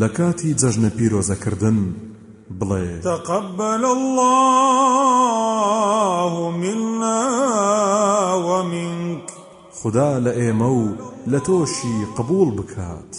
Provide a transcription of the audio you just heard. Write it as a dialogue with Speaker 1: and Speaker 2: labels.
Speaker 1: لە کاتی جەژنە پیرۆزەکردن بڵێ
Speaker 2: تقبل الله منا ومنك
Speaker 1: خدا لە ئێمە و لە تۆشی قبول بکات